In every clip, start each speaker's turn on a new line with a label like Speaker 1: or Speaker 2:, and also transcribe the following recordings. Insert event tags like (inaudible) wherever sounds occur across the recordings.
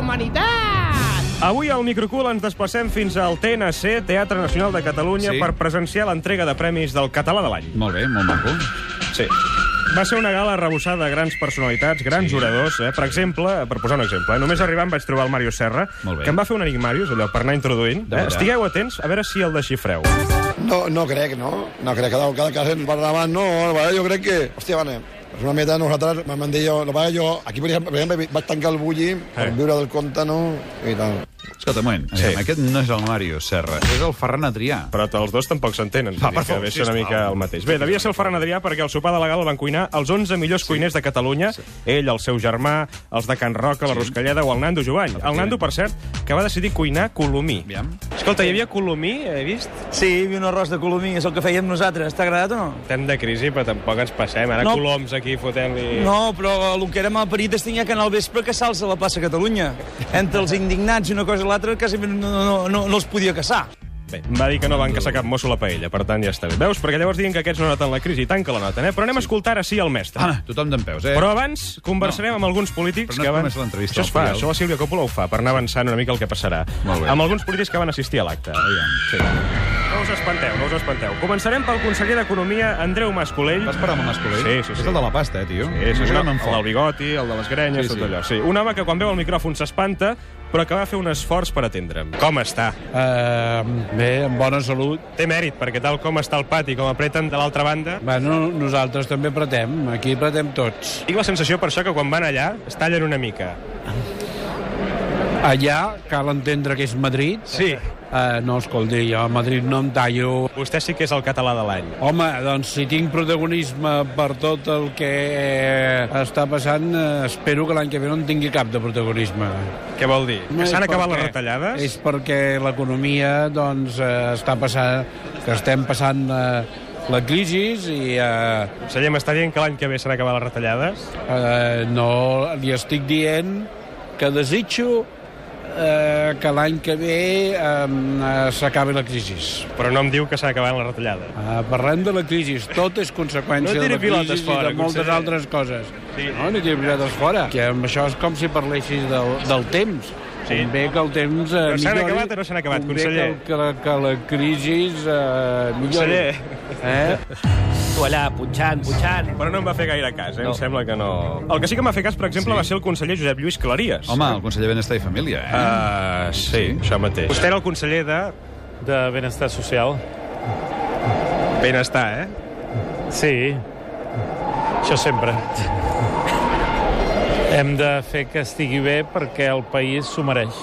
Speaker 1: humanitat!
Speaker 2: Avui al Microcool ens desplacem fins al TNC, Teatre Nacional de Catalunya,
Speaker 3: Sí.
Speaker 2: sí. per presenciar l'entrega de premis del Català de l'any.
Speaker 3: Molt bé, molt maco.
Speaker 2: Sí. Va ser una gala arrebossada de grans personalitats, grans
Speaker 3: Sí.
Speaker 2: sí. oradors. Eh? Per exemple, per posar un exemple, eh? només arribant vaig trobar el Mario Serra,
Speaker 3: Molt bé.
Speaker 2: que em va fer un enigmàrius, allò, per anar introduint.
Speaker 3: De
Speaker 2: Eh?
Speaker 3: veritat.
Speaker 2: Estigueu atents, a veure si el desxifreu.
Speaker 4: No, no crec, no? No crec que cada, cada cas ens va davant, no, vale, jo crec que... Hòstia, vale, és una meta, nosaltres vam dir jo, no, vale, jo, aquí per exemple, per exemple vaig tancar el bulli per
Speaker 2: Eh.
Speaker 4: viure del compte, no? I tal.
Speaker 3: Escolta, un moment. Sí. Aquest no és el Mario Serra, és el Ferran Adrià.
Speaker 2: Però els dos tampoc s'entenen.
Speaker 3: Va,
Speaker 2: vull
Speaker 3: per
Speaker 2: dir que
Speaker 3: favor,
Speaker 2: ve a ser una
Speaker 3: sisplau.
Speaker 2: mica el mateix. Bé, devia ser el Ferran Adrià perquè el sopar de la gala el van cuinar els 11 millors cuiners de Catalunya. Ell, el seu germà, els de Can Roca, la Ruscalleda o el Nando Jovany. El Nando, per cert, que va decidir cuinar colomí.
Speaker 3: Aviam.
Speaker 2: Escolta, hi havia colomí, he vist?
Speaker 5: Sí, hi havia un arròs de colomí, és el que fèiem nosaltres. T'ha agradat o no?
Speaker 2: Tant de crisi, però tampoc ens passem. Ara
Speaker 5: No.
Speaker 2: coloms aquí fotent-li...
Speaker 5: No, però el que era mal parit és tenir que anar al vespre que salsa a la plaça Catalunya. Entre els indignats i una cosa i l'altra, quasi no, no, no, no els podia caçar.
Speaker 2: Bé, va dir que no van caçar cap mosso a la paella, per tant ja està bé. Veus? Perquè llavors diuen que aquests no noten la crisi, i tant que la noten, eh? Però anem a escoltar ara sí el mestre.
Speaker 3: Ah, tothom d'en peus, eh?
Speaker 2: Però abans conversarem
Speaker 3: No.
Speaker 2: no. amb alguns polítics
Speaker 3: Però no
Speaker 2: que van...
Speaker 3: comença l'entrevista,
Speaker 2: Això es fa,
Speaker 3: Oriol.
Speaker 2: això la Sílvia Coppola ho fa, per anar avançant una mica el que passarà.
Speaker 3: Molt bé.
Speaker 2: Amb alguns polítics que van assistir a l'acte.
Speaker 3: Aviam, sí.
Speaker 2: No us espanteu, no us espanteu. Començarem pel conseller d'Economia, Andreu Mascolell.
Speaker 3: Vas parar amb el Mascolell?
Speaker 2: Sí, sí, sí.
Speaker 3: És el de la pasta, eh, tio?
Speaker 2: Sí, sí, sí,
Speaker 3: Gran
Speaker 2: el
Speaker 3: enfort.
Speaker 2: del bigoti, el de les grenyes,
Speaker 3: Sí,
Speaker 2: sí, tot
Speaker 3: sí.
Speaker 2: allò. Sí. Un home que quan veu el micròfon s'espanta, però que va fer un esforç per atendre'm. Com està?
Speaker 6: Eh, bé, amb bona salut.
Speaker 2: Té mèrit, perquè tal com està el pati, com apreten de l'altra banda...
Speaker 6: Bueno, nosaltres també pretem, aquí pretem tots.
Speaker 2: Tinc la sensació, per això, que quan van allà es tallen una mica.
Speaker 6: Allà cal entendre que és Madrid.
Speaker 2: Sí.
Speaker 6: Eh, no, escolti, jo a Madrid no em tallo.
Speaker 2: Vostè sí que és el català de l'any.
Speaker 6: Home, doncs si tinc protagonisme per tot el que està passant, eh, espero que l'any que ve no en tingui cap de protagonisme.
Speaker 2: Què vol dir?
Speaker 6: No
Speaker 2: que
Speaker 6: és
Speaker 2: s'han acabat
Speaker 6: perquè-
Speaker 2: les retallades?
Speaker 6: És perquè l'economia, doncs, eh, està passant... que estem passant eh, la crisi i eh,
Speaker 2: Conseller, m'està dient que l'any que ve s'han acabat les retallades?
Speaker 6: Eh, no, li estic dient que desitjo eh, que l'any que ve eh, eh, s'acabi la crisi.
Speaker 2: Però no em diu que s'han acabat les retallades.
Speaker 6: Eh, parlem de la crisi, tot és conseqüència
Speaker 2: No
Speaker 6: de
Speaker 2: tiri
Speaker 6: la crisi
Speaker 2: pilotes fora,
Speaker 6: i de moltes
Speaker 2: conseller.
Speaker 6: altres coses.
Speaker 2: Sí.
Speaker 6: No, no tiri pilotes fora. Que amb això és com si parlessis del, del temps.
Speaker 2: Sí.
Speaker 6: Convé que el temps eh,
Speaker 2: Però s'han
Speaker 6: millori.
Speaker 2: acabat o no s'han acabat,
Speaker 6: Convé
Speaker 2: conseller?
Speaker 6: Que, el- que, la, que la crisi eh, millori.
Speaker 2: Conseller.
Speaker 6: Eh?
Speaker 7: Tu allà, punxant, punxant.
Speaker 2: Però no em va fer gaire cas, eh? No. Em sembla que no... El que sí que m'ha fet cas, per exemple, sí. va ser el conseller Josep Lluís Claries.
Speaker 3: Home, el conseller de Benestar i Família, eh?
Speaker 2: Uh, sí, això mateix. Vostè era el conseller de
Speaker 8: de benestar social.
Speaker 2: Benestar, eh?
Speaker 8: Sí, això sempre. Hem de fer que estigui bé perquè el país s'ho mereix.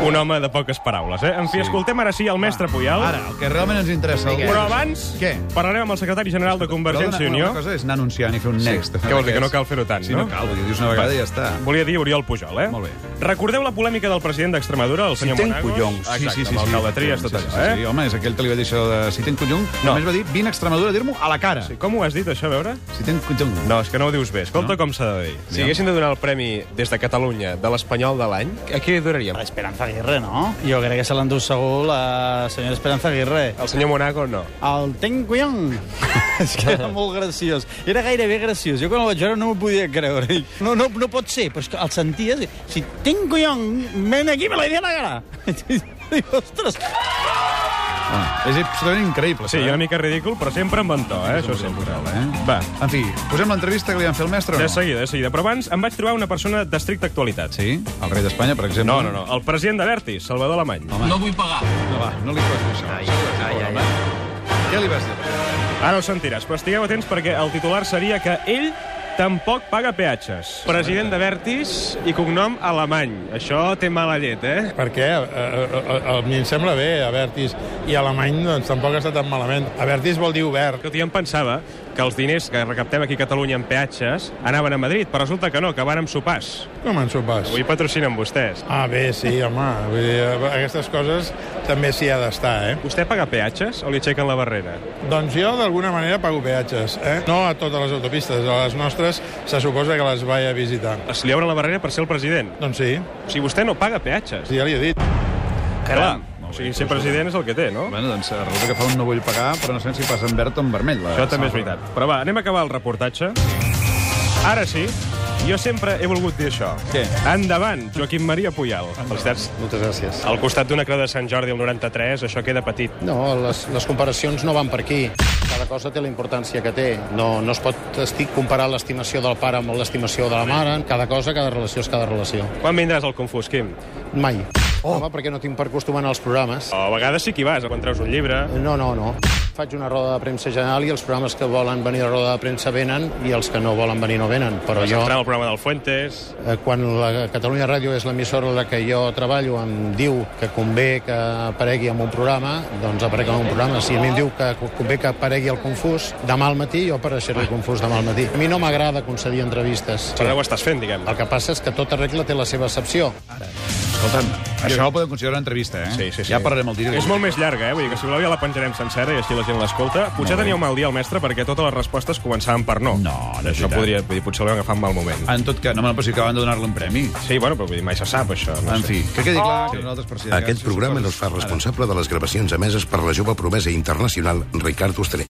Speaker 2: Un home de poques paraules, eh? En fi, sí.
Speaker 3: Sí.
Speaker 2: escoltem ara sí el mestre Puyal.
Speaker 3: Ara, el que realment ens interessa...
Speaker 2: Però abans
Speaker 3: Què?
Speaker 2: parlarem amb el secretari general de Convergència i
Speaker 3: Però una-
Speaker 2: Unió.
Speaker 3: Una cosa és anar anunciant i fer un next.
Speaker 2: Què vol dir, que no cal fer-ho tant,
Speaker 3: Sí, no cal, vull dir, dius una vegada i ja està.
Speaker 2: Volia dir Oriol Pujol, eh?
Speaker 3: Molt bé.
Speaker 2: Recordeu la polèmica del president d'Extremadura, el senyor
Speaker 3: Si tenc
Speaker 2: Monagos?
Speaker 3: collons.
Speaker 2: Exacte, amb l'alcalde Trias, tot
Speaker 3: sí, sí,
Speaker 2: allò,
Speaker 3: sí,
Speaker 2: eh?
Speaker 3: Sí, home, és aquell que li va dir això de... Si tenc collons,
Speaker 2: No.
Speaker 3: només va dir, vine a Extremadura a dir-m'ho a la cara.
Speaker 2: Sí, eh? com ho has dit, això, a veure?
Speaker 3: Si tenc collons.
Speaker 2: No, és que no ho dius bé. Escolta
Speaker 3: No?
Speaker 2: no? com s'ha de dir.
Speaker 3: Ja.
Speaker 2: Si haguessin de donar el premi des de Catalunya de l'Espanyol de l'any, a qui li donaríem?
Speaker 5: Esperanza Aguirre, no? Jo crec que se l'endú segur la senyora Esperanza Aguirre.
Speaker 2: El senyor Monaco, no.
Speaker 5: El (laughs) Tenguion. És que era molt graciós. Era gairebé graciós. Jo quan el vaig veure no m'ho podia creure. Dic, No, no, no pot ser, però és que el senties... i, Si Tenguion, ven aquí, me la diré a la cara. (laughs) Dic, ostres,
Speaker 3: Ah, és absolutament increïble.
Speaker 2: Sí, i una mica ridícul, però sempre amb bon to, eh? Això sempre.
Speaker 3: Eh?
Speaker 2: Va.
Speaker 3: En fi, posem l'entrevista que li van fer el mestre o
Speaker 2: De
Speaker 3: no?
Speaker 2: seguida, de seguida. Però abans em vaig trobar una persona d'estricta actualitat.
Speaker 3: Sí, el rei d'Espanya, per exemple.
Speaker 2: No, no, no. El president d'Avertis, Salvador Alemany.
Speaker 3: No, va, no li posis això. Ai, ai, ai, ai. Què li vas dir?
Speaker 2: Ara ho sentiràs, però estigueu atents perquè el titular seria que ell tampoc paga peatges. President de Vertis i cognom alemany. Això té mala llet, eh?
Speaker 9: Per què? Eh, eh, eh, A mi em sembla bé, Avertis. I alemany, doncs, tampoc està tan malament. Avertis vol dir obert.
Speaker 2: Tot i em pensava que els diners que recaptem aquí a Catalunya en peatges anaven a Madrid, però resulta que no, que van amb sopars.
Speaker 9: Com en sopars?
Speaker 2: Avui patrocinen vostès.
Speaker 9: Ah, bé, sí, home. Vull dir, eh, aquestes coses també s'hi ha d'estar, eh?
Speaker 2: Vostè paga peatges o li aixequen la barrera?
Speaker 9: Doncs jo, d'alguna manera, pago peatges, eh? No a totes les autopistes, a les nostres se suposa que les vaig a visitar.
Speaker 2: Es li obre la barrera per ser el president.
Speaker 9: Doncs sí,
Speaker 2: O sigui, vostè no paga peatges.
Speaker 9: ja li he dit.
Speaker 2: Caram. O sigui, ser president és el que té, no?
Speaker 3: Bueno, doncs eh, resulta que fa un no vull pagar, però no sabem si passa en verd o en vermell. La...
Speaker 2: Això també és veritat. Però va, anem a acabar el reportatge. Ara sí, Jo sempre he volgut dir això.
Speaker 5: Què?
Speaker 2: Endavant, Joaquim Maria Puyal. Felicitats.
Speaker 1: Moltes gràcies.
Speaker 2: Al costat d'una creu de Sant Jordi, el 93, això queda petit.
Speaker 1: No, les, les comparacions no van per aquí. Cada cosa té la importància que té. No, no es pot estic comparar l'estimació del pare amb l'estimació de la mare. Cada cosa, cada relació és cada relació.
Speaker 2: Quan vindràs al Confús, Quim?
Speaker 1: Mai. Oh. Home, perquè no tinc per costum anar als programes.
Speaker 2: O a vegades sí que hi vas, quan treus un llibre.
Speaker 1: No, no, no. Faig una roda de premsa general i els programes que volen venir a roda de premsa venen i els que no volen venir no venen. Però
Speaker 2: Vas
Speaker 1: jo...
Speaker 2: entrar al programa del Fuentes.
Speaker 1: Eh, quan la Catalunya Ràdio és l'emissora en la que jo treballo, em diu que convé que aparegui en un programa, doncs aparec en un programa. Si a mi em diu que convé que aparegui el Confús, demà al matí jo apareixeré el Confús demà al matí. A mi no m'agrada concedir entrevistes.
Speaker 2: Però ho estàs fent, diguem.
Speaker 1: El que passa és que tota regla té la seva excepció.
Speaker 3: Escolta'm, això ho podem considerar una entrevista, eh?
Speaker 2: Sí, sí, sí.
Speaker 3: Ja parlarem el dilluns.
Speaker 2: És molt més llarga, eh? Vull dir que si voleu ja la penjarem sencera i així la gent l'escolta. Potser tenia un mal dia el mestre perquè totes les respostes començaven per no.
Speaker 3: No, no és
Speaker 2: això
Speaker 3: veritat. Ah.
Speaker 2: podria, vull dir, potser l'heu agafat en mal moment.
Speaker 3: En tot cas, no me la passi acaben de donar-li un premi.
Speaker 2: Sí, bueno, però vull dir, mai se sap, això. No
Speaker 3: En
Speaker 2: sé.
Speaker 3: fi, que quedi clar que nosaltres, per si de cas,
Speaker 10: Aquest
Speaker 3: si us
Speaker 10: programa
Speaker 3: acordes-
Speaker 10: no es fa responsable de les gravacions emeses per la jove promesa internacional Ricard Ostaner.